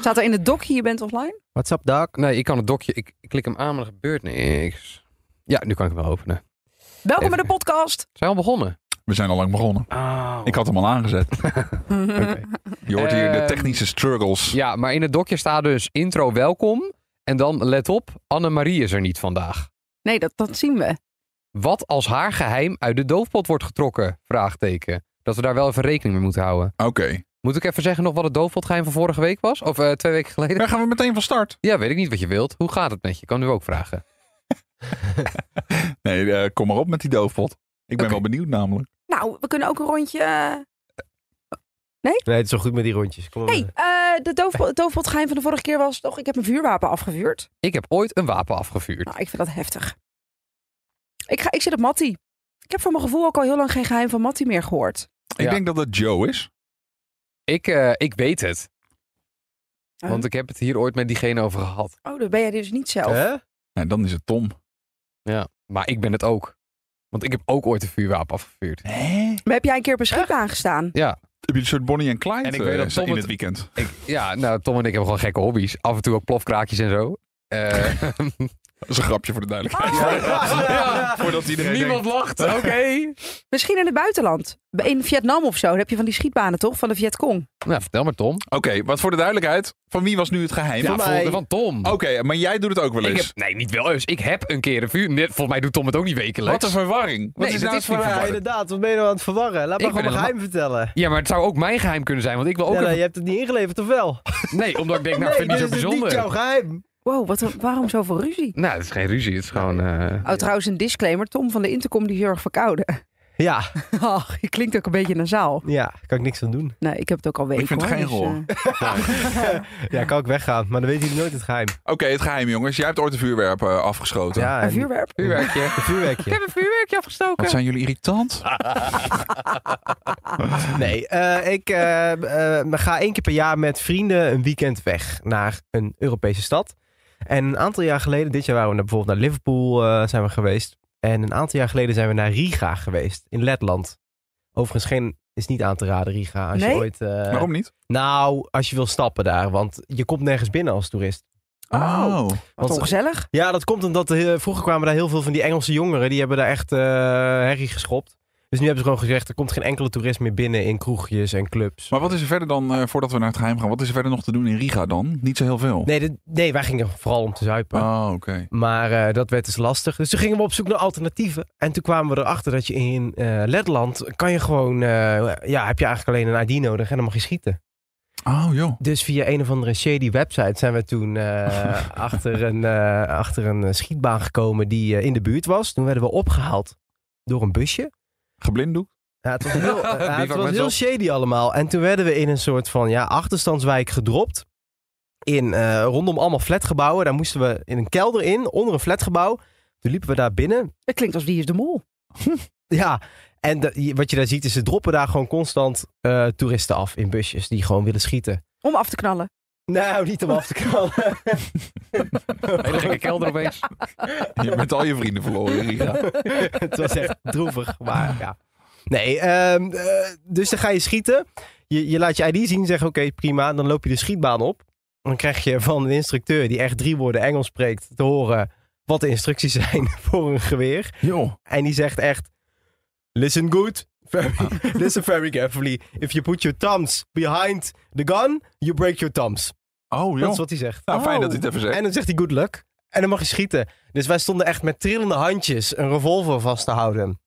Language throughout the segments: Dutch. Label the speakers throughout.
Speaker 1: Staat er in het dokje, je bent offline?
Speaker 2: What's up, Doc?
Speaker 3: Nee, ik kan het dokje. Ik, ik klik hem aan, maar er gebeurt niks. Ja, nu kan ik hem wel openen.
Speaker 1: Welkom
Speaker 3: Even.
Speaker 1: bij de podcast.
Speaker 3: Zijn we al begonnen?
Speaker 4: We zijn al lang begonnen.
Speaker 3: Oh.
Speaker 4: Ik had hem al aangezet. Je hoort hier de
Speaker 3: Ehm.
Speaker 4: technische struggles.
Speaker 3: Ja, maar in het dokje staat dus intro welkom. En dan let op, Annemarie is er niet vandaag.
Speaker 1: Nee, dat, dat zien we.
Speaker 3: Wat als haar geheim uit de doofpot wordt getrokken? Vraagteken. Dat we daar wel even rekening mee moeten houden.
Speaker 4: Oké.
Speaker 3: Moet ik even zeggen nog wat het doofpotgeheim van vorige week was? Of eh, twee weken geleden?
Speaker 4: Daar gaan we meteen van start.
Speaker 3: Ja, weet ik niet wat je wilt. Hoe gaat het met je? Kan nu ook vragen.
Speaker 4: Nee, eh, kom maar op met die doofpot. Ik ben
Speaker 3: Oké.
Speaker 4: wel benieuwd namelijk.
Speaker 1: Nou, we kunnen ook een rondje... eh,
Speaker 2: Nee, het is wel goed met die rondjes. Kom maar.
Speaker 1: Hey, eh, de doofpot- het doofpotgeheim van de vorige keer was toch... Ik heb een vuurwapen afgevuurd.
Speaker 3: Ik heb ooit een wapen afgevuurd.
Speaker 1: Nou, ik vind dat heftig. Ik, ga, ik zit op Mattie. Ik heb voor mijn gevoel ook al heel lang geen geheim van Mattie meer gehoord.
Speaker 4: Ik
Speaker 3: Ja.
Speaker 4: denk dat het Joe is.
Speaker 3: Ik, eh, ik weet het.
Speaker 1: Oh.
Speaker 3: Want ik heb het hier ooit met diegene over gehad.
Speaker 1: Oh, dat ben jij dus niet zelf.
Speaker 2: Hè?
Speaker 4: Nee, dan is het Tom.
Speaker 3: Maar ik ben het ook. Want ik heb ook ooit een vuurwapen afgevuurd.
Speaker 4: Hè?
Speaker 1: Maar heb jij een keer beschikbaar aangestaan?
Speaker 4: Heb je een soort Bonnie en Clyde
Speaker 3: En ik weet
Speaker 4: eh,
Speaker 3: dat Tom
Speaker 4: in
Speaker 3: het-
Speaker 4: het weekend?
Speaker 3: Ik, ja, nou, Tom en ik hebben gewoon gekke hobby's. Af en toe ook plofkraakjes en zo. Eh,
Speaker 4: Dat is een grapje voor de duidelijkheid.
Speaker 3: Ah, Ja.
Speaker 4: Voordat iedereen
Speaker 3: niemand lacht. Oké.
Speaker 1: Misschien in het buitenland. In Vietnam of zo. Dan heb je van die schietbanen toch? Van de Vietcong.
Speaker 3: Nou, vertel maar, Tom.
Speaker 4: denkt- Oké, wat voor de duidelijkheid. Van wie was nu het geheim?
Speaker 3: Ja,
Speaker 4: Van-
Speaker 3: volgende van Tom.
Speaker 4: Oké, maar jij doet het ook wel
Speaker 3: ik
Speaker 4: eens.
Speaker 3: heb, nee, niet wel eens. Ik heb een keer een vuur. nee, volgens mij doet Tom het ook niet wekelijks.
Speaker 4: Wat een verwarring. Wat
Speaker 3: Nee,
Speaker 4: is
Speaker 3: dat
Speaker 4: nou
Speaker 3: is niet
Speaker 4: het verwarring?
Speaker 3: verwarring.
Speaker 2: Inderdaad, wat ben je nou aan het verwarren? Laat
Speaker 3: Ik
Speaker 2: me gewoon
Speaker 3: ben
Speaker 2: mijn geheim vertellen.
Speaker 3: Ja, maar het zou ook mijn geheim kunnen zijn, want ik wil ook.
Speaker 2: Ja,
Speaker 3: een-
Speaker 2: nee, je hebt het niet ingeleverd, of wel?
Speaker 3: Nee, omdat ik denk, nou, ik vind ik
Speaker 2: dit
Speaker 3: niet
Speaker 2: is
Speaker 3: zo
Speaker 2: dus
Speaker 3: bijzonder.
Speaker 2: niet jouw geheim.
Speaker 1: Wow, wat een- waarom zoveel ruzie?
Speaker 3: Nou, het is geen ruzie. Het is gewoon. eh,
Speaker 1: Oh, trouwens, een disclaimer. Tom van de Intercom die is heel erg verkouden.
Speaker 2: Ja,
Speaker 1: Ach, je klinkt ook een beetje nasaal.
Speaker 2: ja, daar kan ik niks aan doen.
Speaker 1: Nee, ik heb het ook al weken.
Speaker 4: Ik vind het
Speaker 1: hoor,
Speaker 4: geen
Speaker 1: dus,
Speaker 4: rol.
Speaker 1: eh,
Speaker 2: Ja, kan ik weggaan, maar dan weten jullie nooit het geheim.
Speaker 4: Oké, het geheim jongens. Jij hebt ooit een vuurwerp eh, afgeschoten.
Speaker 2: Ja,
Speaker 1: een
Speaker 2: en-
Speaker 1: vuurwerp.
Speaker 3: vuurwerkje.
Speaker 2: Een vuurwerkje.
Speaker 1: een vuurwerkje
Speaker 4: Wat
Speaker 1: afgestoken.
Speaker 4: zijn jullie irritant?
Speaker 3: Ah,
Speaker 2: Nee, eh, ik eh, eh, ga één keer per jaar met vrienden een weekend weg naar een Europese stad. En een aantal jaar geleden, dit jaar waren we naar- bijvoorbeeld naar Liverpool eh, zijn we geweest. En een aantal jaar geleden zijn we naar Riga geweest, in Letland. Overigens geen, is niet aan te raden Riga. Als
Speaker 1: Nee?
Speaker 2: je ooit, eh,
Speaker 4: Waarom niet?
Speaker 2: Nou, als je wil stappen daar, want je komt nergens binnen als toerist.
Speaker 1: Oh,
Speaker 4: Oh.
Speaker 1: wat
Speaker 2: Want-
Speaker 1: ongezellig.
Speaker 2: Ja, dat komt omdat eh, vroeger kwamen daar heel veel van die Engelse jongeren. Die hebben daar echt eh herrie geschopt. Dus nu hebben ze gewoon gezegd, er komt geen enkele toerist meer binnen in kroegjes en clubs.
Speaker 4: Maar wat is er verder dan, eh, voordat we naar het geheim gaan, wat is er verder nog te doen in Riga dan? Niet zo heel veel.
Speaker 2: Nee, dit- nee, wij gingen vooral om te zuipen.
Speaker 4: Oh, oké.
Speaker 2: Maar eh, dat werd dus lastig. Dus toen gingen we op zoek naar alternatieven. En toen kwamen we erachter dat je in eh, Letland kan je gewoon... eh, ja, heb je eigenlijk alleen een ID nodig en dan mag je schieten.
Speaker 4: Oh, joh.
Speaker 2: Dus via een of andere shady website zijn we toen eh, achter, een, eh, achter een eh, schietbaan gekomen die eh, in de buurt was. Toen werden we opgehaald door een busje.
Speaker 4: Geblinddoekt?
Speaker 2: Ja, het was heel, eh,
Speaker 3: Bivak
Speaker 2: het was
Speaker 3: met
Speaker 2: heel
Speaker 3: zon.
Speaker 2: shady allemaal. En toen werden we in een soort van ja, achterstandswijk gedropt. In, eh, rondom allemaal flatgebouwen. Daar moesten we in een kelder in, onder een flatgebouw. Toen liepen we daar binnen.
Speaker 1: Het klinkt als wie is de mol.
Speaker 2: Ja, en dat- je- wat je daar ziet is ze droppen daar gewoon constant eh, toeristen af in busjes die gewoon willen schieten.
Speaker 1: Om af te knallen.
Speaker 2: Nou, niet om af te knallen.
Speaker 3: Hele gekke kelder opeens.
Speaker 4: Je bent al je vrienden verloren in Riga.
Speaker 2: het was echt droevig, maar ja. Nee, ehm, eh, dus dan ga je schieten. Je, je laat je ID zien, zeg oké, prima. Dan loop je de schietbaan op. Dan krijg je van een instructeur die echt drie woorden Engels spreekt te horen wat de instructies zijn voor een geweer.
Speaker 4: Joh.
Speaker 2: En die zegt echt, listen good, very, listen very carefully. If you put your thumbs behind the gun, you break your thumbs.
Speaker 4: Oh,
Speaker 2: Dat is
Speaker 4: joh.
Speaker 2: wat hij zegt.
Speaker 4: Nou, fijn dat hij het even zegt.
Speaker 2: En dan zegt hij good luck. En dan mag je schieten. Dus wij stonden echt met trillende handjes een revolver vast te houden.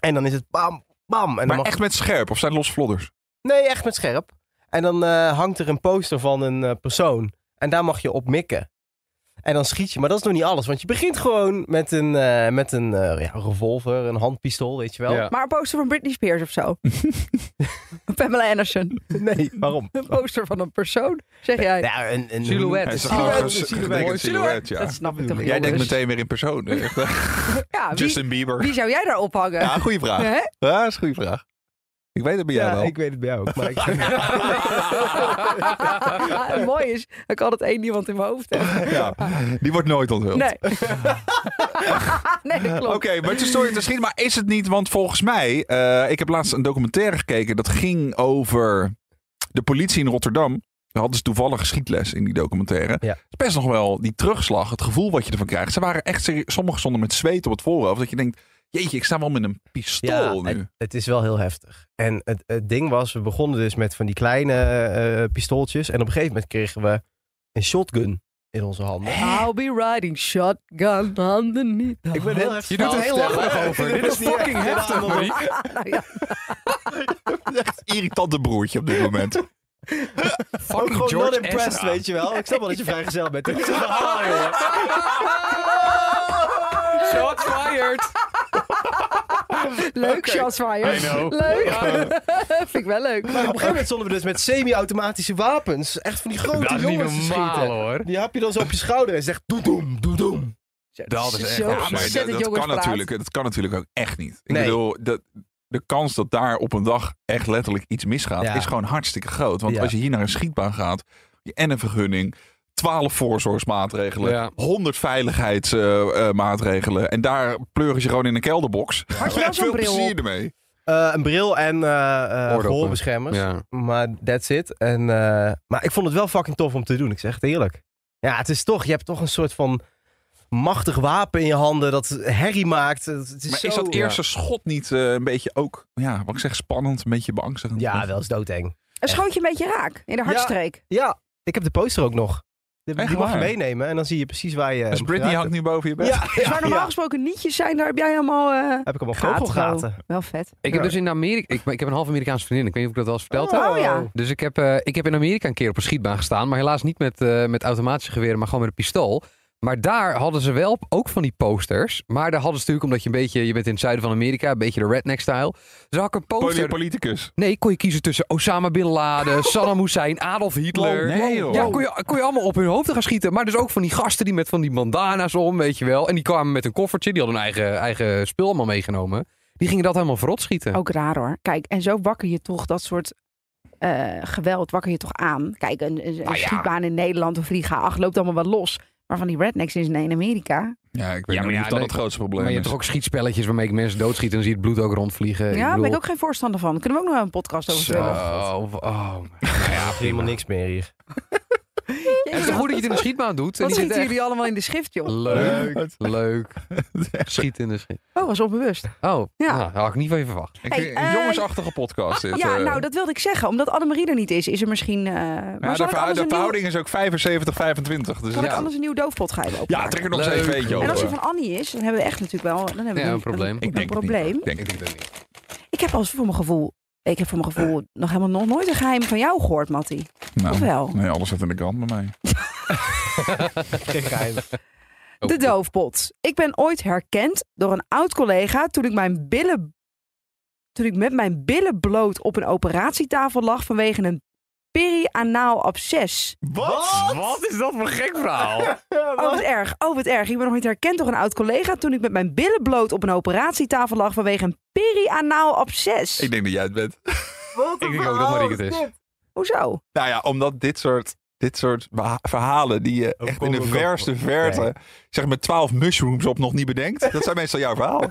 Speaker 2: En dan is het bam, bam. En dan
Speaker 4: maar
Speaker 2: mag...
Speaker 4: echt met scherp, of zijn het los vlodders?
Speaker 2: Nee, echt met scherp. En dan eh, hangt er een poster van een eh, persoon. En daar mag je op mikken. En dan schiet je. Maar dat is nog niet alles. Want je begint gewoon met een, eh, met een eh, ja, revolver, een handpistool, weet je wel.
Speaker 3: Ja.
Speaker 1: Maar een poster van Britney Spears of zo. Pamela Anderson.
Speaker 2: Nee, waarom?
Speaker 1: Een poster van een persoon, zeg jij.
Speaker 2: Nou, een, een
Speaker 3: Silhouet.
Speaker 4: Het is gewoon
Speaker 2: Silhouet, een
Speaker 4: ges-
Speaker 2: silhouet.
Speaker 4: getekend silhouet, ja.
Speaker 1: Dat snap ik toch
Speaker 4: Jij denkt
Speaker 1: jongens?
Speaker 4: meteen weer in persoon. Echt, hè?
Speaker 1: Ja, wie,
Speaker 4: Justin Bieber.
Speaker 1: wie zou jij daar ophangen?
Speaker 4: Ja, goede vraag.
Speaker 1: Hè?
Speaker 4: Ja, dat is een goede vraag. Ik weet het bij jou
Speaker 2: Ja,
Speaker 4: wel.
Speaker 2: ik weet het bij jou ook. Maar ik...
Speaker 1: Het mooie is, ik had het één iemand in mijn hoofd. hebben.
Speaker 4: Ja. Die wordt nooit onthuld.
Speaker 1: Nee. nee, dat klopt.
Speaker 4: Oké, maar het is sorry te schieten, maar is het niet? Want volgens mij, eh, ik heb laatst een documentaire gekeken. Dat ging over de politie in Rotterdam. hadden ze toevallig geschiedles in die documentaire.
Speaker 2: Ja.
Speaker 4: Het is best nog wel die terugslag, het gevoel wat je ervan krijgt. Ze waren echt serieus, sommigen stonden met zweet op het voorhoofd. Dat je denkt, jeetje, ik sta wel met een pistool
Speaker 2: het,
Speaker 4: nu.
Speaker 2: het is wel heel heftig. En het, het ding was, we begonnen dus met van die kleine eh, pistooltjes. En op een gegeven moment kregen we een shotgun in onze handen.
Speaker 1: I'll be riding shotgun underneath the
Speaker 2: Ik ben heel heftig.
Speaker 3: Je doet er heel lacherig over. Dit is fucking heftig, Marie.
Speaker 1: Nou ja,
Speaker 4: Echt irritante broertje op dit moment.
Speaker 2: Ook
Speaker 3: Fucking
Speaker 2: gewoon not
Speaker 3: George
Speaker 2: impressed,
Speaker 3: Ezra.
Speaker 2: weet je wel. Ik snap wel dat je vrijgezel bent. Ik zeg, ah, jongen.
Speaker 1: Ah!
Speaker 3: Shot fired.
Speaker 1: Leuk, shots
Speaker 3: I
Speaker 1: fired.
Speaker 3: know.
Speaker 1: Leuk. Vind ik wel leuk.
Speaker 2: Maar op een gegeven moment stonden we dus met semi-automatische wapens. Echt van die grote
Speaker 3: Dat is niet
Speaker 2: jongens te
Speaker 3: normaal
Speaker 2: schieten.
Speaker 3: hoor.
Speaker 2: Die hap je dan zo op je schouder en zegt doedoem, doedoem.
Speaker 3: Dat is echt
Speaker 1: Zo
Speaker 3: Ja,
Speaker 4: Ja, maar dat-
Speaker 1: ontzettend
Speaker 4: dat, kan
Speaker 1: jongenspraat.
Speaker 4: natuurlijk, dat kan natuurlijk ook echt niet. Ik
Speaker 2: Nee.
Speaker 4: bedoel, dat, de kans dat daar op een dag echt letterlijk iets misgaat,
Speaker 2: Ja.
Speaker 4: is gewoon hartstikke groot. Want
Speaker 2: Ja.
Speaker 4: als je hier naar een schietbaan gaat, je en een vergunning, 12 voorzorgsmaatregelen,
Speaker 3: Ja.
Speaker 4: 100 veiligheidsmaatregelen. en daar pleuren ze gewoon in een kelderbox.
Speaker 1: Had je wel zo'n
Speaker 4: Veel
Speaker 1: bril
Speaker 4: plezier
Speaker 1: op?
Speaker 4: ermee.
Speaker 2: Eh, een bril en eh, eh
Speaker 3: Oordoppen.
Speaker 2: gehoorbeschermers.
Speaker 3: Ja.
Speaker 2: Maar that's it. En, eh, maar ik vond het wel fucking tof om te doen. Ik zeg het eerlijk. Ja, het is toch, je hebt toch een soort van machtig wapen in je handen dat herrie maakt. Het, het is
Speaker 4: Maar
Speaker 2: zo...
Speaker 4: is dat eerste schot niet eh, een beetje ook, ja, wat ik zeg, spannend, een beetje beangstigend?
Speaker 2: Ja, wel eens doodeng.
Speaker 1: Een schootje een beetje raak in de hartstreek.
Speaker 2: Ja, ik heb de poster ook nog. Die, die
Speaker 4: Echt
Speaker 2: mag je
Speaker 4: waar?
Speaker 2: meenemen en dan zie je precies waar je...
Speaker 4: Dus
Speaker 2: hem
Speaker 4: Britney
Speaker 2: geraakt
Speaker 4: hangt nu boven je bed.
Speaker 2: hebt. Ja,
Speaker 1: Dus waar normaal gesproken nietjes zijn, daar heb jij helemaal eh,
Speaker 2: Heb ik hem op
Speaker 1: gaten.
Speaker 2: vogelgaten.
Speaker 1: Wel vet.
Speaker 3: Ik heb dus in Amerika, ik, ik heb een half Amerikaanse vriendin. Ik weet niet of ik dat wel eens verteld heb.
Speaker 1: Oh ja.
Speaker 3: Dus ik heb, eh, ik heb in Amerika een keer op een schietbaan gestaan. Maar helaas niet met, eh, met automatische geweren, maar gewoon met een pistool. Maar daar hadden ze wel ook van die posters. Maar daar hadden ze natuurlijk, omdat je een beetje... Je bent in het zuiden van Amerika, een beetje de redneck-style. Dus daar had ik een
Speaker 4: Poli-
Speaker 3: poster...
Speaker 4: Politicus.
Speaker 3: Nee, kon je kiezen tussen Osama Bin Laden, Saddam Hussein, Adolf Hitler.
Speaker 4: Wow, nee, joh.
Speaker 3: ja, kon je, kon je allemaal op hun hoofd gaan schieten. Maar dus ook van die gasten die met van die bandana's om, weet je wel. En die kwamen met een koffertje, die hadden hun eigen, eigen spul allemaal meegenomen. Die gingen dat helemaal verrot schieten.
Speaker 1: Ook raar hoor. Kijk, en zo wakker je toch dat soort eh, geweld wakker je toch aan. Kijk, een, een, een
Speaker 3: Nou ja.
Speaker 1: schietbaan in Nederland of Riga 8 loopt allemaal wel los. Maar van die rednecks in, in Amerika.
Speaker 4: Ja, ik weet
Speaker 3: Ja, maar
Speaker 4: niet
Speaker 3: ja,
Speaker 4: of dat
Speaker 3: nee.
Speaker 4: het grootste probleem
Speaker 3: Maar je
Speaker 4: is.
Speaker 3: hebt toch ook schietspelletjes waarmee ik mensen doodschiet en dan zie je het bloed ook rondvliegen.
Speaker 1: ja, daar ben ik ook geen voorstander van. Kunnen we ook nog wel een podcast over
Speaker 3: Eh, Zo,
Speaker 1: vullen?
Speaker 3: oh, oh.
Speaker 2: Ja, helemaal niks meer hier.
Speaker 3: Het is toch goed dat je het in de schietbaan doet. En
Speaker 1: Wat schieten
Speaker 3: die zitten echt
Speaker 1: jullie allemaal in de schrift, joh?
Speaker 3: leuk,
Speaker 4: Leuk.
Speaker 3: leuk.
Speaker 4: Echt zo.
Speaker 3: Schiet in de schiet.
Speaker 1: Oh, was onbewust.
Speaker 3: Oh,
Speaker 1: Ja.
Speaker 3: ja. nou, had ik niet van je verwacht.
Speaker 4: Ik-
Speaker 1: Hey,
Speaker 4: een
Speaker 1: eh,
Speaker 4: jongensachtige podcast dit.
Speaker 1: Ja,
Speaker 4: eh.
Speaker 1: nou, dat wilde ik zeggen. Omdat Annemarie er niet is, is er misschien... eh maar
Speaker 4: Ja,
Speaker 1: zal
Speaker 4: de,
Speaker 1: ik
Speaker 4: verhou-
Speaker 1: anders
Speaker 4: de
Speaker 1: een nieuw,
Speaker 4: verhouding is ook 75, 25. Dus
Speaker 1: kan
Speaker 4: ja.
Speaker 1: ik anders een nieuw doofpot gaan even
Speaker 4: ja,
Speaker 1: openmaken?
Speaker 4: trek er nog
Speaker 3: Leuk.
Speaker 4: steeds een beetje
Speaker 1: En als
Speaker 4: over.
Speaker 1: die van Annie is, dan hebben we echt natuurlijk wel... Dan hebben we
Speaker 3: Ja, een
Speaker 1: natuurlijk
Speaker 3: probleem.
Speaker 1: Een,
Speaker 4: Ik denk het niet.
Speaker 1: probleem.
Speaker 4: Ik denk het
Speaker 3: Ik denk dat niet.
Speaker 1: Ik heb als voor mijn gevoel... Ik heb voor mijn gevoel nog helemaal nog nooit een geheim van jou gehoord, Mattie.
Speaker 4: Nou,
Speaker 1: Of wel?
Speaker 4: Nee, alles zit in de krant bij mij.
Speaker 2: Geen geheim.
Speaker 3: Oh,
Speaker 1: De doofpot. Ik ben ooit herkend door een oud collega toen ik mijn billen. Toen ik met mijn billen bloot op een operatietafel lag vanwege een perianaal absces.
Speaker 2: Wat?
Speaker 3: Wat is dat voor een gek verhaal?
Speaker 1: Oh, wat erg. Oh, wat erg. Ik ben nog niet herkend door een oud collega toen ik met mijn billen bloot op een operatietafel lag vanwege een perianaal absces.
Speaker 4: Ik denk dat jij het bent.
Speaker 3: Ik denk ook dat Marieke het is.
Speaker 1: Hoezo?
Speaker 4: Nou ja, omdat dit soort, dit soort beha- verhalen die je
Speaker 2: Oh,
Speaker 4: echt
Speaker 2: kom,
Speaker 4: in de
Speaker 2: kom, kom.
Speaker 4: verste verte,
Speaker 2: Nee.
Speaker 4: zeg met 12 mushrooms op nog niet bedenkt. Dat zijn meestal jouw verhaal.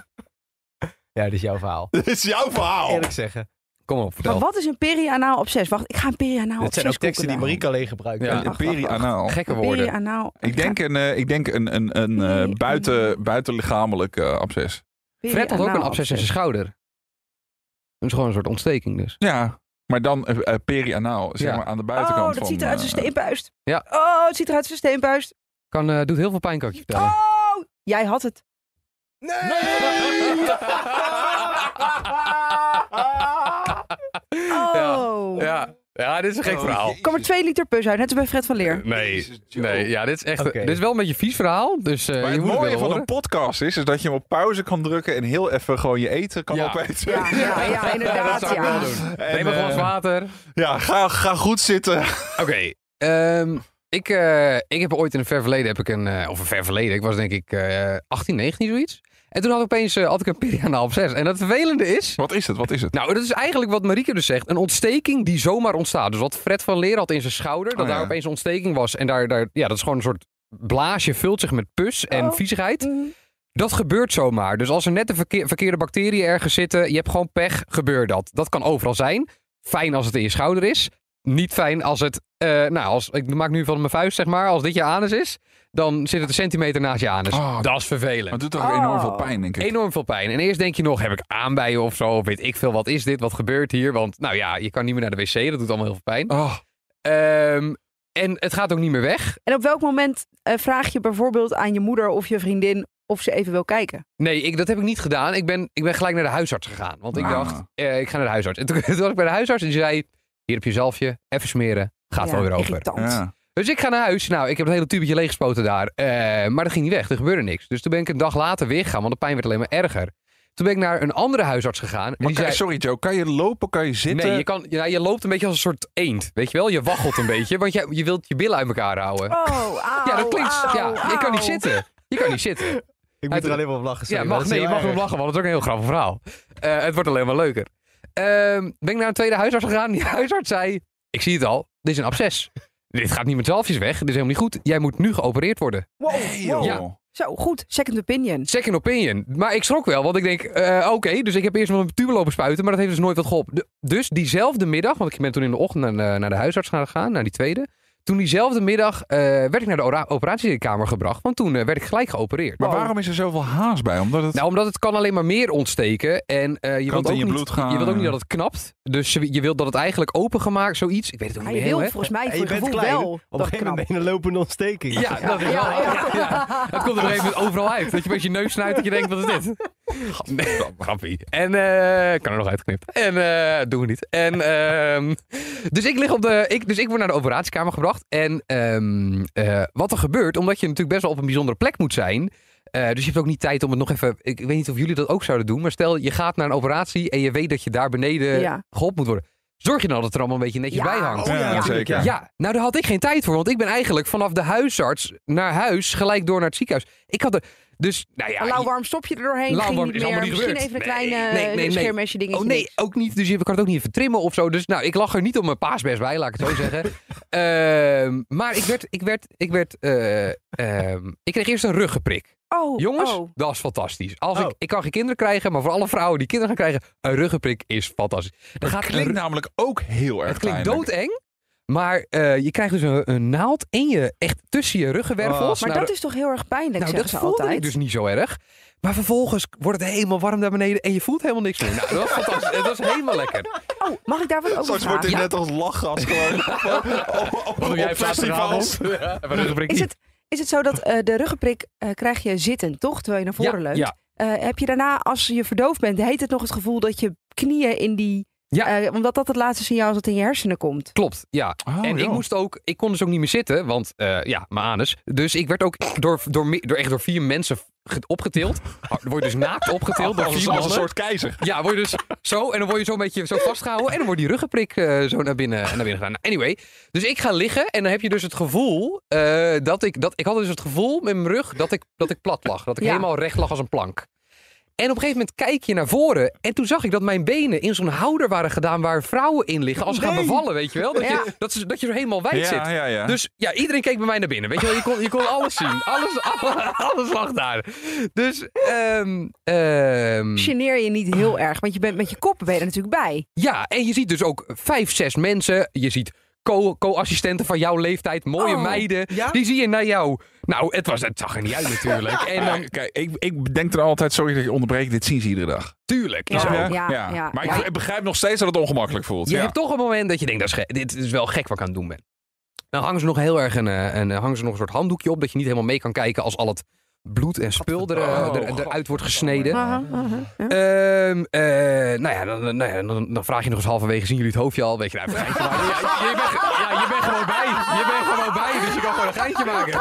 Speaker 2: Ja, dit is jouw verhaal.
Speaker 4: Dit is jouw
Speaker 3: Oh.
Speaker 4: verhaal.
Speaker 2: Eerlijk zeggen.
Speaker 3: Kom op,
Speaker 1: Maar
Speaker 3: vertel.
Speaker 1: wat is een perianaal absces? Wacht, ik ga een perianaal
Speaker 2: Dit
Speaker 1: absces
Speaker 2: zijn ook teksten die
Speaker 1: googlen.
Speaker 2: Marieke alleen gebruikt.
Speaker 3: Ja.
Speaker 4: Een
Speaker 1: Wacht, wacht, wacht.
Speaker 4: perianaal.
Speaker 3: Gekke woorden.
Speaker 1: Perianaal.
Speaker 4: Ik denk een, eh, ik denk een, een, een eh,
Speaker 1: Perianaal.
Speaker 4: buiten, buitenlichamelijk eh, absces.
Speaker 3: Fred had ook een
Speaker 1: Perianaal
Speaker 3: absces in zijn schouder. Dat is gewoon een soort ontsteking dus.
Speaker 4: Ja, maar dan eh, eh, perianaal, zeg
Speaker 3: Ja.
Speaker 4: maar aan de
Speaker 1: Oh,
Speaker 4: buitenkant
Speaker 1: dat
Speaker 4: van,
Speaker 1: ziet eruit als
Speaker 4: eh,
Speaker 1: een steenpuist.
Speaker 3: Ja.
Speaker 1: Oh, het ziet eruit als een steenpuist.
Speaker 3: Kan, eh, doet heel veel pijn, kan ik je vertellen.
Speaker 1: Oh, jij had het. Oh.
Speaker 3: Ja. ja, dit is een gek verhaal.
Speaker 1: Kom er twee liter pus uit, net als bij Fred van Leer.
Speaker 4: Jezus,
Speaker 3: Nee,
Speaker 4: Joe.
Speaker 3: nee, ja, dit is echt.
Speaker 2: Oké.
Speaker 3: Dit is wel een beetje een vies verhaal. Dus eh,
Speaker 4: Maar
Speaker 3: je
Speaker 4: het
Speaker 3: moet het
Speaker 4: mooie
Speaker 3: wel
Speaker 4: van
Speaker 3: horen.
Speaker 4: een podcast is, is dat je hem op pauze kan drukken en heel even gewoon je eten kan
Speaker 3: Ja.
Speaker 4: opeten.
Speaker 1: Ja, ja, ja,
Speaker 3: dat
Speaker 1: inderdaad.
Speaker 3: zou ik
Speaker 1: Ja.
Speaker 3: wel doen.
Speaker 4: En,
Speaker 3: Neem een glas
Speaker 4: eh,
Speaker 3: water.
Speaker 4: Ja, ga, ga goed zitten.
Speaker 3: Oké. ehm, ik, eh, ik heb ooit in een ver verleden, heb ik een, eh, of een ver verleden, ik was denk ik eh 18, 19 zoiets. En toen had ik opeens eh, had ik een perianaal absces. En dat vervelende is,
Speaker 4: Wat is het? Wat is het?
Speaker 3: Nou, dat is eigenlijk wat Marieke dus zegt. Een ontsteking die zomaar ontstaat. Dus wat Fred van Leer had in zijn schouder, dat
Speaker 4: Oh, ja.
Speaker 3: daar opeens een ontsteking was. En daar, daar, ja, dat is gewoon een soort blaasje, vult zich met pus en
Speaker 1: Oh.
Speaker 3: viezigheid.
Speaker 1: Mhm.
Speaker 3: Dat gebeurt zomaar. Dus als er net de verkeer- verkeerde bacteriën ergens zitten, je hebt gewoon pech, gebeurt dat. Dat kan overal zijn. Fijn als het in je schouder is. niet fijn als het... eh, nou, als, ik maak nu van mijn vuist, zeg maar. Als dit je anus is, dan zit het een centimeter naast je anus.
Speaker 4: Ah,
Speaker 3: dat is vervelend.
Speaker 4: Maar het doet toch
Speaker 1: Oh.
Speaker 4: enorm veel pijn, denk ik.
Speaker 3: Enorm veel pijn. En eerst denk je nog, heb ik aanbijen of zo? Of weet ik veel, wat is dit? Wat gebeurt hier? Want nou ja, je kan niet meer naar de wc. Dat doet allemaal heel veel pijn.
Speaker 4: Ah,
Speaker 3: Ehm, en het gaat ook niet meer weg.
Speaker 1: En op welk moment eh, vraag je bijvoorbeeld aan je moeder of je vriendin of ze even wil kijken?
Speaker 3: Nee, ik, dat heb ik niet gedaan. Ik ben, ik ben gelijk naar de huisarts gegaan. Want ik
Speaker 4: Ah.
Speaker 3: dacht, eh, ik ga naar de huisarts. En toen, toen was ik bij de huisarts en die zei... Hier heb je zelfje, even smeren. Gaat
Speaker 1: Ja,
Speaker 3: wel weer over.
Speaker 1: Irritant.
Speaker 4: ja.
Speaker 3: Dus ik ga naar huis. Nou, ik heb het hele tubetje leeggespoten daar. Eh, maar dat ging niet weg. Er gebeurde niks. Dus toen ben ik een dag later weer gegaan, want de pijn werd alleen maar erger. Toen ben ik naar een andere huisarts gegaan. en
Speaker 4: Maar
Speaker 3: die
Speaker 4: kan-
Speaker 3: zei,
Speaker 4: sorry Joe, kan je lopen, kan je zitten?
Speaker 2: eh,
Speaker 3: Nee, je, kan, ja, je loopt een beetje als een soort eend. Weet je wel? Je waggelt een beetje, want je, je wilt je billen uit elkaar houden.
Speaker 1: Oh, auw,
Speaker 3: ja, dat klinkt.
Speaker 1: auw,
Speaker 3: ja, je kan niet
Speaker 1: auw.
Speaker 3: zitten. Je kan niet zitten.
Speaker 2: Ik
Speaker 3: Hij
Speaker 2: moet er
Speaker 3: doet-
Speaker 2: alleen maar op lachen.
Speaker 3: Ja,
Speaker 2: sorry,
Speaker 3: mag,
Speaker 2: maar
Speaker 3: nee,
Speaker 2: dat
Speaker 3: je
Speaker 2: is
Speaker 3: mag
Speaker 2: heel
Speaker 3: hem
Speaker 2: erg.
Speaker 3: lachen, want het is ook een heel grappig verhaal. Eh, het wordt alleen maar leuker. Ehm, ben ik naar een tweede huisarts gegaan. Die huisarts zei: Ik zie het al, dit is een absces. Dit gaat niet met zelfjes weg. Dit is helemaal niet goed. Jij moet nu geopereerd worden.
Speaker 1: Wow,
Speaker 4: Nee,
Speaker 1: wow.
Speaker 4: joh.
Speaker 3: Ja.
Speaker 1: Zo, goed. Second opinion.
Speaker 3: Second opinion. Maar ik schrok wel, want ik denk, eh, oké, dus ik heb eerst wel een tube lopen spuiten, maar dat heeft dus nooit wat geholpen. De- dus diezelfde middag, want ik ben toen in de ochtend naar, de- naar de huisarts gaan gaan, naar die tweede. Toen diezelfde middag eh, werd ik naar de ora- operatiekamer gebracht, want toen eh, werd ik gelijk geopereerd.
Speaker 4: Maar waarom is er zoveel haast bij? Omdat het...
Speaker 3: Nou, omdat het kan alleen maar meer ontsteken en eh, je,
Speaker 4: Kan
Speaker 3: wilt
Speaker 4: het
Speaker 3: ook
Speaker 4: in je
Speaker 3: niet,
Speaker 4: bloed gaan?
Speaker 3: je wilt ook niet dat het knapt. Dus je je wilt dat het eigenlijk opengemaakt, zoiets. Ik weet het ook
Speaker 1: Ja,
Speaker 3: niet
Speaker 1: je
Speaker 3: meer heel,
Speaker 1: wil
Speaker 3: hè?
Speaker 1: volgens mij
Speaker 2: En
Speaker 1: voor
Speaker 2: je
Speaker 1: je
Speaker 2: bent
Speaker 1: gevoel
Speaker 2: klein.
Speaker 1: wel
Speaker 2: Op een
Speaker 1: dat
Speaker 2: gegeven
Speaker 1: knap.
Speaker 2: moment een lopende ontsteking.
Speaker 3: Ja, dat is wel. Ja, ja. Het komt er op een gegeven moment overal uit. Dat je met je neus snuit dat je denkt, wat is dit? Nee, grappie. En eh kan er nog uitknipt. En eh, doen we niet. En, ehm, dus, ik lig op de, ik, dus ik word naar de operatiekamer gebracht. En ehm, eh, wat er gebeurt, omdat je natuurlijk best wel op een bijzondere plek moet zijn. eh, dus je hebt ook niet tijd om het nog even. Ik weet niet of jullie dat ook zouden doen. Maar stel, je gaat naar een operatie en je weet dat je daar beneden
Speaker 1: Ja.
Speaker 3: geholpen moet worden. Zorg je dan dat het er allemaal een beetje netjes
Speaker 1: Ja,
Speaker 3: bij hangt.
Speaker 4: Ja,
Speaker 2: natuurlijk,
Speaker 4: zeker.
Speaker 2: ja.
Speaker 3: oh, Ja, nou daar had ik geen tijd voor, want ik ben eigenlijk vanaf de huisarts naar huis gelijk door naar het ziekenhuis. Ik had er, dus, nou ja.
Speaker 1: Een lauw warm stopje er doorheen
Speaker 3: Lauw
Speaker 1: ging
Speaker 3: warm
Speaker 1: niet
Speaker 3: is
Speaker 1: meer.
Speaker 3: allemaal niet
Speaker 1: Misschien
Speaker 3: gebeurd.
Speaker 1: even een
Speaker 3: Nee,
Speaker 1: kleine
Speaker 3: nee, nee, nee.
Speaker 1: scheermesje dingetje.
Speaker 3: Oh nee,
Speaker 1: niks.
Speaker 3: ook niet. Dus je kan het ook niet even trimmen of zo. Dus nou, ik lag er niet op mijn paasbest bij, laat ik het zo zeggen. Ehm, maar ik werd, ik werd, ik werd, eh, ehm, ik kreeg eerst een ruggenprik.
Speaker 1: Oh,
Speaker 3: Jongens,
Speaker 1: oh.
Speaker 3: dat is fantastisch. Als
Speaker 2: Oh.
Speaker 3: ik, ik kan geen kinderen krijgen, maar voor alle vrouwen die kinderen gaan krijgen, een ruggenprik is fantastisch. Dan gaat
Speaker 4: Het
Speaker 3: een
Speaker 4: klinkt namelijk ook heel erg
Speaker 3: Het klinkt
Speaker 4: pijnlijk.
Speaker 3: doodeng. Maar eh, je krijgt dus een, een naald in je, echt tussen je ruggenwervels.
Speaker 1: Oh. Maar
Speaker 3: Nou,
Speaker 1: dat is toch heel erg pijnlijk,
Speaker 3: nou,
Speaker 1: zeggen
Speaker 3: dat
Speaker 1: ze
Speaker 3: voelde ik
Speaker 1: altijd.
Speaker 3: dus niet zo erg. Maar vervolgens wordt het helemaal warm daar beneden en je voelt helemaal niks meer. Nou, dat is fantastisch. Dat is helemaal lekker.
Speaker 1: Oh, mag ik daar wat over
Speaker 4: Straks wordt
Speaker 1: vragen?
Speaker 4: dit net als lachgas gewoon. op op, op, op festivals.
Speaker 1: Is het, is het zo dat eh, de ruggenprik eh, krijg je zittend, toch? Terwijl je naar voren leunt.
Speaker 3: Ja,
Speaker 1: Eh, heb je daarna, als je verdoofd bent, heet het nog het gevoel dat je knieën in die...
Speaker 3: Ja.
Speaker 1: eh, omdat dat het laatste signaal is dat in je hersenen komt.
Speaker 3: klopt. Ja.
Speaker 4: Oh,
Speaker 3: en ik,
Speaker 4: joh.
Speaker 3: moest ook, ik kon dus ook niet meer zitten, want eh, ja, mijn anus. Dus ik werd ook door, door, me- door, echt door vier mensen ge- opgetild. Oh, Word je dus naakt opgetild door
Speaker 4: Als
Speaker 3: vier
Speaker 4: een- als een
Speaker 3: mannen.
Speaker 4: soort keizer.
Speaker 3: Ja, word je dus zo en dan word je zo'n beetje zo vastgehouden en dan wordt die ruggenprik eh, zo naar binnen, naar binnen gedaan. Nou, anyway, dus ik ga liggen en dan heb je dus het gevoel eh, dat ik, dat ik had dus het gevoel met mijn rug dat ik, dat ik plat lag. Dat ik
Speaker 1: Ja.
Speaker 3: helemaal recht lag als een plank. En op een gegeven moment kijk je naar voren en toen zag ik dat mijn benen in zo'n houder waren gedaan waar vrouwen in liggen als ze gaan
Speaker 4: Nee.
Speaker 3: bevallen, weet je wel. Dat,
Speaker 1: Ja.
Speaker 3: je, dat, ze, dat je er helemaal wijd zit.
Speaker 4: Ja, ja, ja.
Speaker 3: Dus ja, iedereen keek bij mij naar binnen. Weet je wel, je kon, je kon alles zien. Alles, alles, alles lag daar. Dus, ehm ehm,
Speaker 1: Geneer je niet heel erg, want je bent met je koppen ben je er natuurlijk bij.
Speaker 3: ja, en je ziet dus ook vijf, zes mensen. Je ziet co- co-assistenten van jouw leeftijd, mooie
Speaker 1: Oh,
Speaker 3: meiden. Die zie je naar jou. Nou, het, was, het zag er niet uit natuurlijk. En dan,
Speaker 4: Maar Nou kijk, ik, ik denk er altijd, sorry dat je onderbreekt, dit zien ze iedere dag.
Speaker 3: tuurlijk.
Speaker 1: Ja,
Speaker 3: is
Speaker 4: Snap
Speaker 3: ook-
Speaker 4: je?
Speaker 1: ja, ja.
Speaker 4: Maar
Speaker 1: Ja.
Speaker 4: ik begrijp nog steeds dat het ongemakkelijk voelt.
Speaker 3: Je
Speaker 4: ja.
Speaker 3: hebt toch een moment dat je denkt, dat is ge- dit is wel gek wat ik aan het doen ben. Dan hangen ze nog heel erg een, eh, een, eh, hangen ze nog een soort handdoekje op, dat je niet helemaal mee kan kijken als al het bloed en spul er, eh,
Speaker 4: Oh,
Speaker 3: er-
Speaker 4: God.
Speaker 3: eruit wordt gesneden.
Speaker 1: Aha, aha, ja.
Speaker 3: Ehm, eh, nou ja, dan, nou ja dan, dan vraag je nog eens halverwege, zien jullie het hoofdje al? Weet je, nou, even een geintje maken. Ja, je, bent, ge- ja, je bent gewoon bij. Je bent gewoon bij, dus je kan gewoon een geintje maken.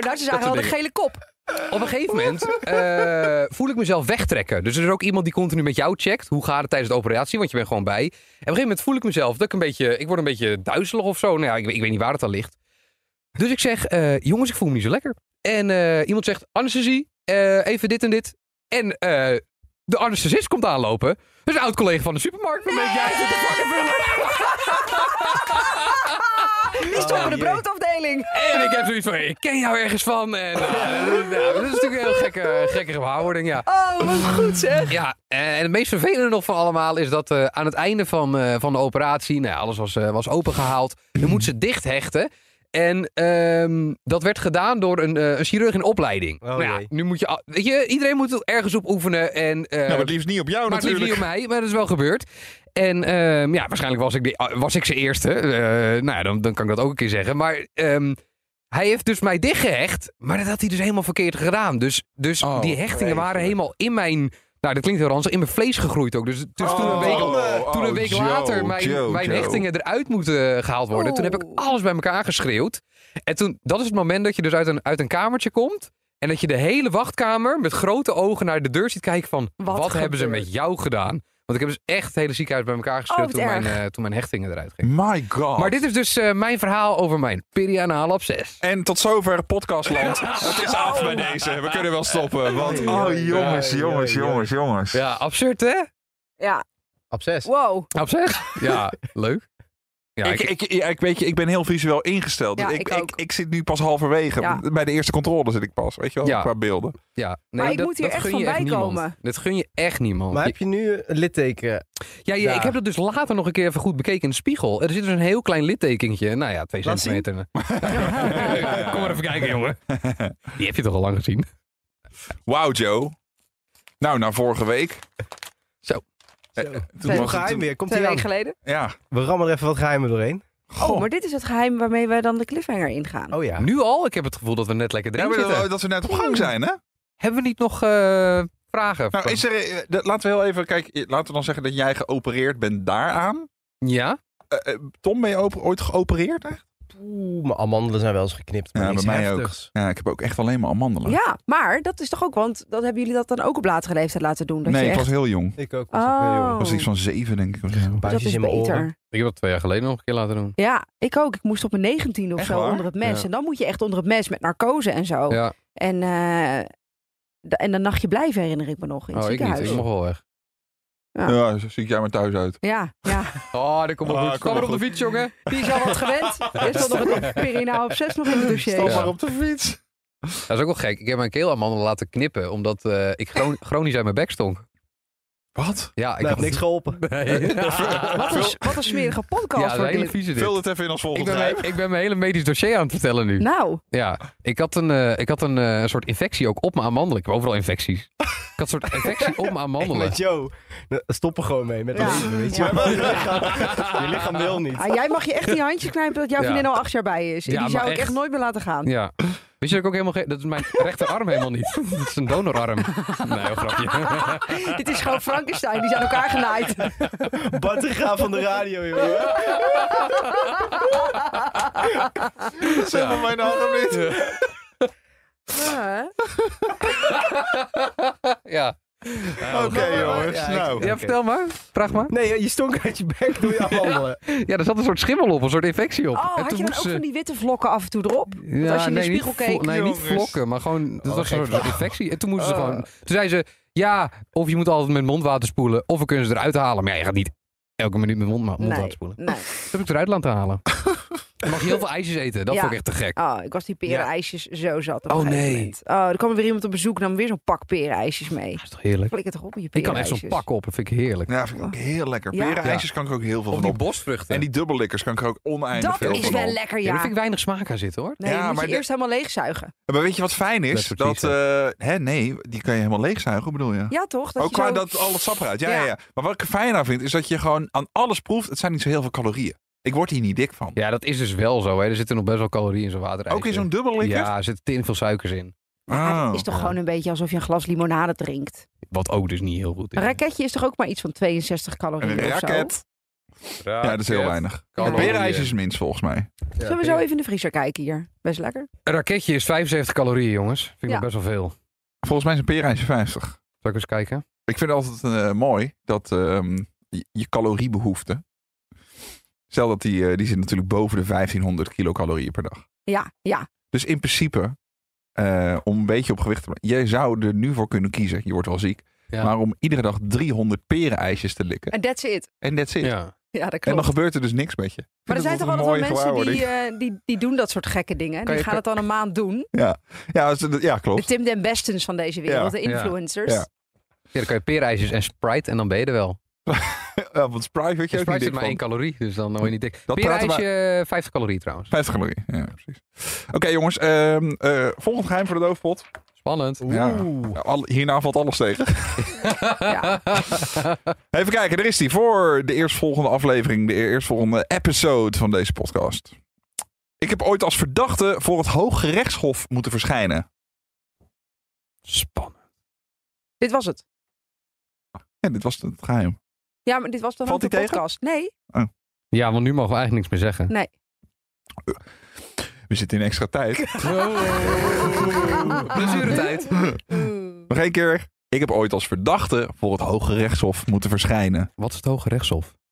Speaker 1: Oh, nou, ze zagen
Speaker 3: soort
Speaker 1: al de
Speaker 3: dingen.
Speaker 1: gele kop.
Speaker 3: Op een gegeven moment eh, voel ik mezelf wegtrekken. Dus er is ook iemand die continu met jou checkt. Hoe gaat het tijdens de operatie? Want je bent gewoon bij. En op een gegeven moment voel ik mezelf dat ik een beetje... Ik word een beetje duizelig of zo. Nou ja, ik, ik weet niet waar het aan ligt. Dus ik zeg, eh, jongens, ik voel me niet zo lekker. En eh, iemand zegt, anesthesie, eh, even dit en dit. En eh, de anesthesist komt aanlopen. Dat is een oud-collega van de supermarkt. Dan denk jij, wat de fuck is er aan de hand?
Speaker 1: Die stonden de
Speaker 2: jee.
Speaker 1: broodafdeling. tweeling.
Speaker 3: En ik heb zoiets van, ik ken jou ergens van. En, eh, nou, dat is natuurlijk een heel gekke, gekke gehouding, ja.
Speaker 1: Oh, wat goed zeg.
Speaker 3: Ja, eh, en het meest vervelende nog van allemaal is dat eh, aan het einde van, eh, van de operatie, nou, ja, alles was, eh, was opengehaald, dan moet ze dicht hechten. En ehm, dat werd gedaan door een, eh, een chirurg in opleiding.
Speaker 2: Oh,
Speaker 3: nou ja,
Speaker 2: jee.
Speaker 3: nu moet je, al- weet je, iedereen moet ergens op oefenen. En, eh,
Speaker 4: Nou, maar het liefst niet op jou
Speaker 3: maar het liep
Speaker 4: natuurlijk.
Speaker 3: niet om mij, maar dat is wel gebeurd. En ehm, ja, waarschijnlijk was ik, de, ah, was ik zijn eerste. Eh, nou ja, dan, dan kan ik dat ook een keer zeggen. Maar ehm, hij heeft dus mij dichtgehecht. Maar dat had hij dus helemaal verkeerd gedaan. Dus, dus
Speaker 4: Oh,
Speaker 3: die hechtingen waren
Speaker 4: vreselijk.
Speaker 3: helemaal in mijn... Nou, dat klinkt heel ranzig. In mijn vlees gegroeid ook. Dus, dus toen een week,
Speaker 4: Oh,
Speaker 3: toen een
Speaker 4: oh,
Speaker 3: week
Speaker 4: Joe,
Speaker 3: later mijn,
Speaker 4: Joe,
Speaker 3: mijn
Speaker 4: Joe. Oh.
Speaker 3: hechtingen eruit moeten eh, gehaald worden. Toen heb ik
Speaker 1: Oeh.
Speaker 3: alles bij elkaar geschreeuwd. En toen, dat is het moment dat je dus uit een, uit een kamertje komt. En dat je de hele wachtkamer met grote ogen naar de deur ziet kijken van...
Speaker 1: Wat
Speaker 3: Wat, hebben ze
Speaker 1: gebeurt?
Speaker 3: met jou gedaan? Want ik heb dus echt het hele ziekenhuis bij elkaar geschreeuwd
Speaker 1: wat
Speaker 3: toen, mijn,
Speaker 1: erg.
Speaker 3: eh, toen mijn hechtingen eruit gingen.
Speaker 4: My god.
Speaker 3: Maar dit is dus eh, mijn verhaal over mijn perianale absces.
Speaker 4: En tot zover podcastland. Het is af bij deze. We kunnen wel stoppen. Want... Oh jongens,
Speaker 2: Ja,
Speaker 4: jongens,
Speaker 2: ja, ja.
Speaker 4: jongens, jongens.
Speaker 3: Ja, absurd hè?
Speaker 1: Ja,
Speaker 2: Absces.
Speaker 1: wow.
Speaker 3: Absces? Ja, leuk. Ja,
Speaker 4: ik, ik, ja, ik weet je, ik ben heel visueel ingesteld.
Speaker 1: Ja,
Speaker 4: Dus ik,
Speaker 1: ik
Speaker 4: ik,
Speaker 1: ook.
Speaker 4: ik, zit nu pas halverwege.
Speaker 1: Ja.
Speaker 4: Bij de eerste controle zit ik pas, weet je wel,
Speaker 3: Ja.
Speaker 4: qua beelden.
Speaker 3: ja. Nee,
Speaker 1: Maar ik moet hier echt
Speaker 3: gun je
Speaker 1: van bijkomen.
Speaker 3: niemand. Dat gun je echt niemand.
Speaker 2: Maar heb je nu een litteken?
Speaker 3: ja, ja,
Speaker 2: Ja.
Speaker 3: ik heb dat dus later nog een keer even goed bekeken in de spiegel. Er zit dus een heel klein littekentje. Nou ja, twee
Speaker 2: Laat zien.
Speaker 3: centimeter. Kom maar even kijken, jongen. Die heb je toch al lang gezien?
Speaker 4: Wauw, Joe. Nou, na vorige week.
Speaker 3: Zo.
Speaker 4: Eh,
Speaker 2: Zo.
Speaker 4: Toen
Speaker 2: Hoe
Speaker 4: was
Speaker 2: geheim
Speaker 4: het,
Speaker 2: weer? Komt
Speaker 1: Twee
Speaker 2: hij aan?
Speaker 1: weken geleden.
Speaker 4: ja.
Speaker 2: We rammen er even wat geheimen doorheen.
Speaker 1: Oh, maar dit is het geheim waarmee wij dan de cliffhanger ingaan.
Speaker 2: Oh ja.
Speaker 3: Nu al? Ik heb het gevoel dat we net lekker
Speaker 4: Ja,
Speaker 3: erin
Speaker 4: maar eh,
Speaker 3: zitten.
Speaker 4: dat, dat we net op gang zijn, hè?
Speaker 3: Hebben we niet nog eh, vragen?
Speaker 4: Nou, is er, eh, dat- laten we heel even, kijk, eh, laten we dan zeggen dat jij geopereerd bent daaraan.
Speaker 3: Ja?
Speaker 4: Eh, eh, Tom, ben je op- ooit geopereerd? Hè?
Speaker 2: Oeh, mijn amandelen zijn wel eens geknipt. Maar
Speaker 4: Ja,
Speaker 2: niks
Speaker 4: bij mij
Speaker 2: heftigs.
Speaker 4: Ja, ik heb ook echt alleen maar amandelen.
Speaker 1: Ja, maar dat is toch ook, want dat hebben jullie dat dan ook op latere leeftijd laten doen. Dat
Speaker 4: nee,
Speaker 1: je
Speaker 4: ik
Speaker 1: echt... Oh.
Speaker 4: was heel jong. Ik
Speaker 2: Ik ook.
Speaker 1: was ook heel jong.
Speaker 4: was iets van zeven, denk ik. of zo.
Speaker 1: dat
Speaker 2: Buisjes
Speaker 1: is
Speaker 2: in mijn oren.
Speaker 1: beter.
Speaker 3: Ik heb dat twee jaar geleden nog een keer laten doen.
Speaker 1: Ja, ik ook. Ik moest op mijn negentiende of
Speaker 4: Echt
Speaker 1: zo
Speaker 4: waar?
Speaker 1: onder het mes.
Speaker 3: Ja.
Speaker 1: En dan moet je echt onder het mes met narcose en zo.
Speaker 3: Ja,
Speaker 1: En, eh, da- en dan nachtje blijven herinner ik me nog in het
Speaker 3: oh, ik niet.
Speaker 1: ziekenhuis.
Speaker 3: Ik mocht wel weg.
Speaker 1: Ja.
Speaker 4: Ja, zo zie ik jij maar thuis uit.
Speaker 1: Ja, ja.
Speaker 3: Oh, daar komt
Speaker 4: Ah,
Speaker 3: wel goed.
Speaker 4: kom
Speaker 3: Kom
Speaker 4: maar
Speaker 3: maar op de fiets, jongen.
Speaker 1: Die is al wat gewend. Er stond nog een perinaal op zes nog in het dossier.
Speaker 4: Stap
Speaker 3: Ja.
Speaker 4: maar op de fiets.
Speaker 3: Dat is ook wel gek. Ik heb mijn keelamandel laten knippen, omdat eh, ik chron- chronisch uit mijn bek stonk.
Speaker 4: Wat?
Speaker 3: Ja, ik
Speaker 2: Nou,
Speaker 3: had
Speaker 2: heeft niks geholpen.
Speaker 1: Wat een, wat een smerige podcast
Speaker 3: Ja, dat is een
Speaker 1: wordt
Speaker 3: hele
Speaker 1: dit.
Speaker 3: vieze dit.
Speaker 4: Vul het even in als
Speaker 3: Ik
Speaker 4: volgend
Speaker 3: ben,
Speaker 4: rijp.
Speaker 3: mijn, ik ben mijn hele medisch dossier aan het vertellen nu.
Speaker 1: Nou,
Speaker 3: Ja, ik had een, eh, ik had een eh, soort infectie ook op mijn amandelen. Ik heb overal infecties. Ik had een soort infectie op mijn amandelen.
Speaker 2: Met Joe. Nou, Stop er gewoon mee met
Speaker 1: Ja.
Speaker 2: leven, weet je.
Speaker 1: Ja.
Speaker 2: Je, lichaam, je lichaam wil niet.
Speaker 1: ah, jij mag je echt in je handjes knijpen dat jouw
Speaker 3: Ja.
Speaker 1: vriendin al acht jaar bij je is. En
Speaker 3: Ja,
Speaker 1: die
Speaker 3: maar
Speaker 1: zou ik echt
Speaker 3: echt.
Speaker 1: nooit meer laten gaan.
Speaker 3: Ja. Weet je dat ik ook helemaal geen... Dat is mijn rechterarm helemaal niet. Dat is een donorarm. Nee, heel grapje.
Speaker 1: Dit is gewoon Frankenstein, die zijn elkaar genaaid.
Speaker 2: Bart de Graaf van de radio, joh.
Speaker 4: Zet hem mijn hand op niet.
Speaker 1: Ja,
Speaker 3: Ja.
Speaker 4: Oké, jongens.
Speaker 2: Ja, ik-
Speaker 4: nou.
Speaker 2: Oké.
Speaker 3: Ja, vertel maar. Vraag maar.
Speaker 2: Nee, je stonk uit je bek door je amandelen.
Speaker 3: Ja, er zat een soort schimmel op, een soort infectie op.
Speaker 1: Oh, had je dan ook van die witte vlokken af en toe erop?
Speaker 3: Ja,
Speaker 1: als je in de
Speaker 3: nee, niet
Speaker 1: spiegel
Speaker 3: vlo-
Speaker 1: keek,
Speaker 3: Nee, niet
Speaker 4: jongens.
Speaker 3: vlokken, maar gewoon... Dat
Speaker 2: Oh,
Speaker 3: was een
Speaker 2: gek.
Speaker 3: soort infectie. En toen moesten ze gewoon... Toen zei ze, ja, of je moet altijd met mondwater spoelen, of we kunnen ze eruit halen. Maar ja, je gaat niet elke minuut met mond, mondwater
Speaker 1: Nee,
Speaker 3: spoelen.
Speaker 1: nee.
Speaker 3: Toen heb ik eruit laten halen. Dan mag je heel veel ijsjes eten. Dat
Speaker 1: Ja.
Speaker 3: vond ik echt te gek.
Speaker 1: Oh, ik was die perenijsjes zo zat op
Speaker 3: Oh,
Speaker 1: een gegeven
Speaker 3: nee.
Speaker 1: moment. Oh, er kwam er weer iemand op bezoek nam weer zo'n pak perenijsjes mee.
Speaker 3: Dat is toch heerlijk?
Speaker 1: Flikker toch op met je
Speaker 3: Ik kan echt zo'n
Speaker 1: perenijsjes.
Speaker 3: pak op. Dat vind ik heerlijk.
Speaker 4: Ja, vind ik ook heel lekker.
Speaker 1: Ja.
Speaker 4: Perenijsjes kan ik ook heel veel
Speaker 3: Of
Speaker 4: van
Speaker 3: die
Speaker 4: op.
Speaker 3: bosvruchten.
Speaker 4: En die dubbellikkers kan ik ook oneindig veel
Speaker 1: Dat is
Speaker 4: van
Speaker 1: wel
Speaker 4: op.
Speaker 1: lekker,
Speaker 3: Ja, daar
Speaker 1: ja.
Speaker 3: vind ik weinig smaak aan zitten, hoor.
Speaker 1: Nee,
Speaker 4: Ja,
Speaker 1: die moet
Speaker 4: maar
Speaker 1: je
Speaker 4: de-
Speaker 1: eerst helemaal leegzuigen.
Speaker 4: Maar weet je wat fijn is?
Speaker 3: That's what
Speaker 4: Dat,
Speaker 3: she
Speaker 4: eh, hè, nee, die kan je helemaal leegzuigen, bedoel je?
Speaker 1: Ja, toch? Dat
Speaker 4: ook
Speaker 1: je
Speaker 4: qua
Speaker 1: zo-
Speaker 4: dat al het sap eruit. Ja, ja.
Speaker 1: Ja.
Speaker 4: ja. Maar wat ik er fijn aan vind, is dat je gewoon aan alles proeft. Het zijn niet zo heel veel calorieën. Ik word hier niet dik van.
Speaker 3: Ja, dat is dus wel zo. Hè. Er zitten nog best wel calorieën in zo'n water.
Speaker 4: ook in zo'n dubbellikker?
Speaker 3: Ja, er zitten tering veel suikers in.
Speaker 1: Ja,
Speaker 4: Oh.
Speaker 1: Ah, het is toch
Speaker 3: Ja.
Speaker 1: gewoon een beetje alsof je een glas limonade drinkt.
Speaker 3: Wat ook dus niet heel goed is.
Speaker 1: Een raketje is toch ook maar iets van 62 calorieën
Speaker 4: Een
Speaker 1: of zo?
Speaker 4: raket. Ja, dat is heel weinig.
Speaker 1: Calorieën.
Speaker 4: Berenijs is minst volgens mij.
Speaker 1: Zullen we zo even in de vriezer kijken hier? Best lekker.
Speaker 3: Een raketje is 75 calorieën, jongens. Vind ik
Speaker 1: Ja.
Speaker 3: nog best wel veel. Zal
Speaker 4: Volgens mij is een perenijsje 50.
Speaker 3: ik eens kijken?
Speaker 4: Ik vind het altijd eh, mooi dat ehm, je, je caloriebehoefte. Stel dat die, eh, die zit natuurlijk boven de 1500 kilocalorieën per dag.
Speaker 1: Ja, ja.
Speaker 4: Dus in principe, eh, om een beetje op gewicht te blijven. Jij zou er nu voor kunnen kiezen, je wordt wel ziek.
Speaker 3: Ja.
Speaker 4: Maar om iedere dag 300 perenijsjes te likken.
Speaker 1: En that's it.
Speaker 4: En that's it.
Speaker 3: Ja.
Speaker 1: Ja, dat klopt.
Speaker 4: En dan gebeurt er dus niks met je. Ik
Speaker 1: maar er zijn
Speaker 4: vind
Speaker 1: toch
Speaker 4: het
Speaker 1: altijd
Speaker 4: wel
Speaker 1: wel
Speaker 4: een mooi
Speaker 1: mensen
Speaker 4: gewaarwording.
Speaker 1: die, eh, die, die doen dat soort gekke dingen.
Speaker 3: Kan
Speaker 1: Die
Speaker 3: je-
Speaker 1: gaan het dan een maand doen.
Speaker 4: Ja, als- ja, klopt.
Speaker 1: De Tim den Bestens van deze wereld,
Speaker 4: Ja,
Speaker 1: de
Speaker 3: ja,
Speaker 1: influencers.
Speaker 4: ja.
Speaker 3: Ja, dan kan je peerijsjes en Sprite en dan ben je er wel.
Speaker 4: Ja, want Sprite weet je
Speaker 3: En
Speaker 4: ook niet
Speaker 3: Sprite zit
Speaker 4: dik
Speaker 3: maar
Speaker 4: van.
Speaker 3: één calorie, dus dan word je niet dik.
Speaker 4: Dat praten
Speaker 3: Peerijsje, 50 calorieën trouwens.
Speaker 4: 50 calorieën, ja precies. Oké jongens, ehm, eh, volgend geheim voor de doofpot.
Speaker 3: Spannend.
Speaker 4: Ja. Ja, al- hierna valt alles tegen.
Speaker 1: Ja.
Speaker 4: Even kijken, er is die voor de eerstvolgende aflevering, de eerstvolgende episode van deze podcast. Ik heb ooit als verdachte voor het Hooggerechtshof moeten verschijnen.
Speaker 3: Spannend.
Speaker 1: Dit was het.
Speaker 4: En dit was het geheim.
Speaker 1: Ja, maar dit was toch
Speaker 4: Valt
Speaker 1: ook de
Speaker 4: die tegen?
Speaker 1: podcast? Nee.
Speaker 3: Ja, want nu mogen we eigenlijk niks meer zeggen.
Speaker 1: Nee.
Speaker 4: We zitten in extra tijd.
Speaker 3: Blessuretijd.
Speaker 4: Nog één keer. Ik heb ooit als verdachte voor het Hoge Rechtshof moeten verschijnen.
Speaker 3: Wat is het Hoge Rechtshof?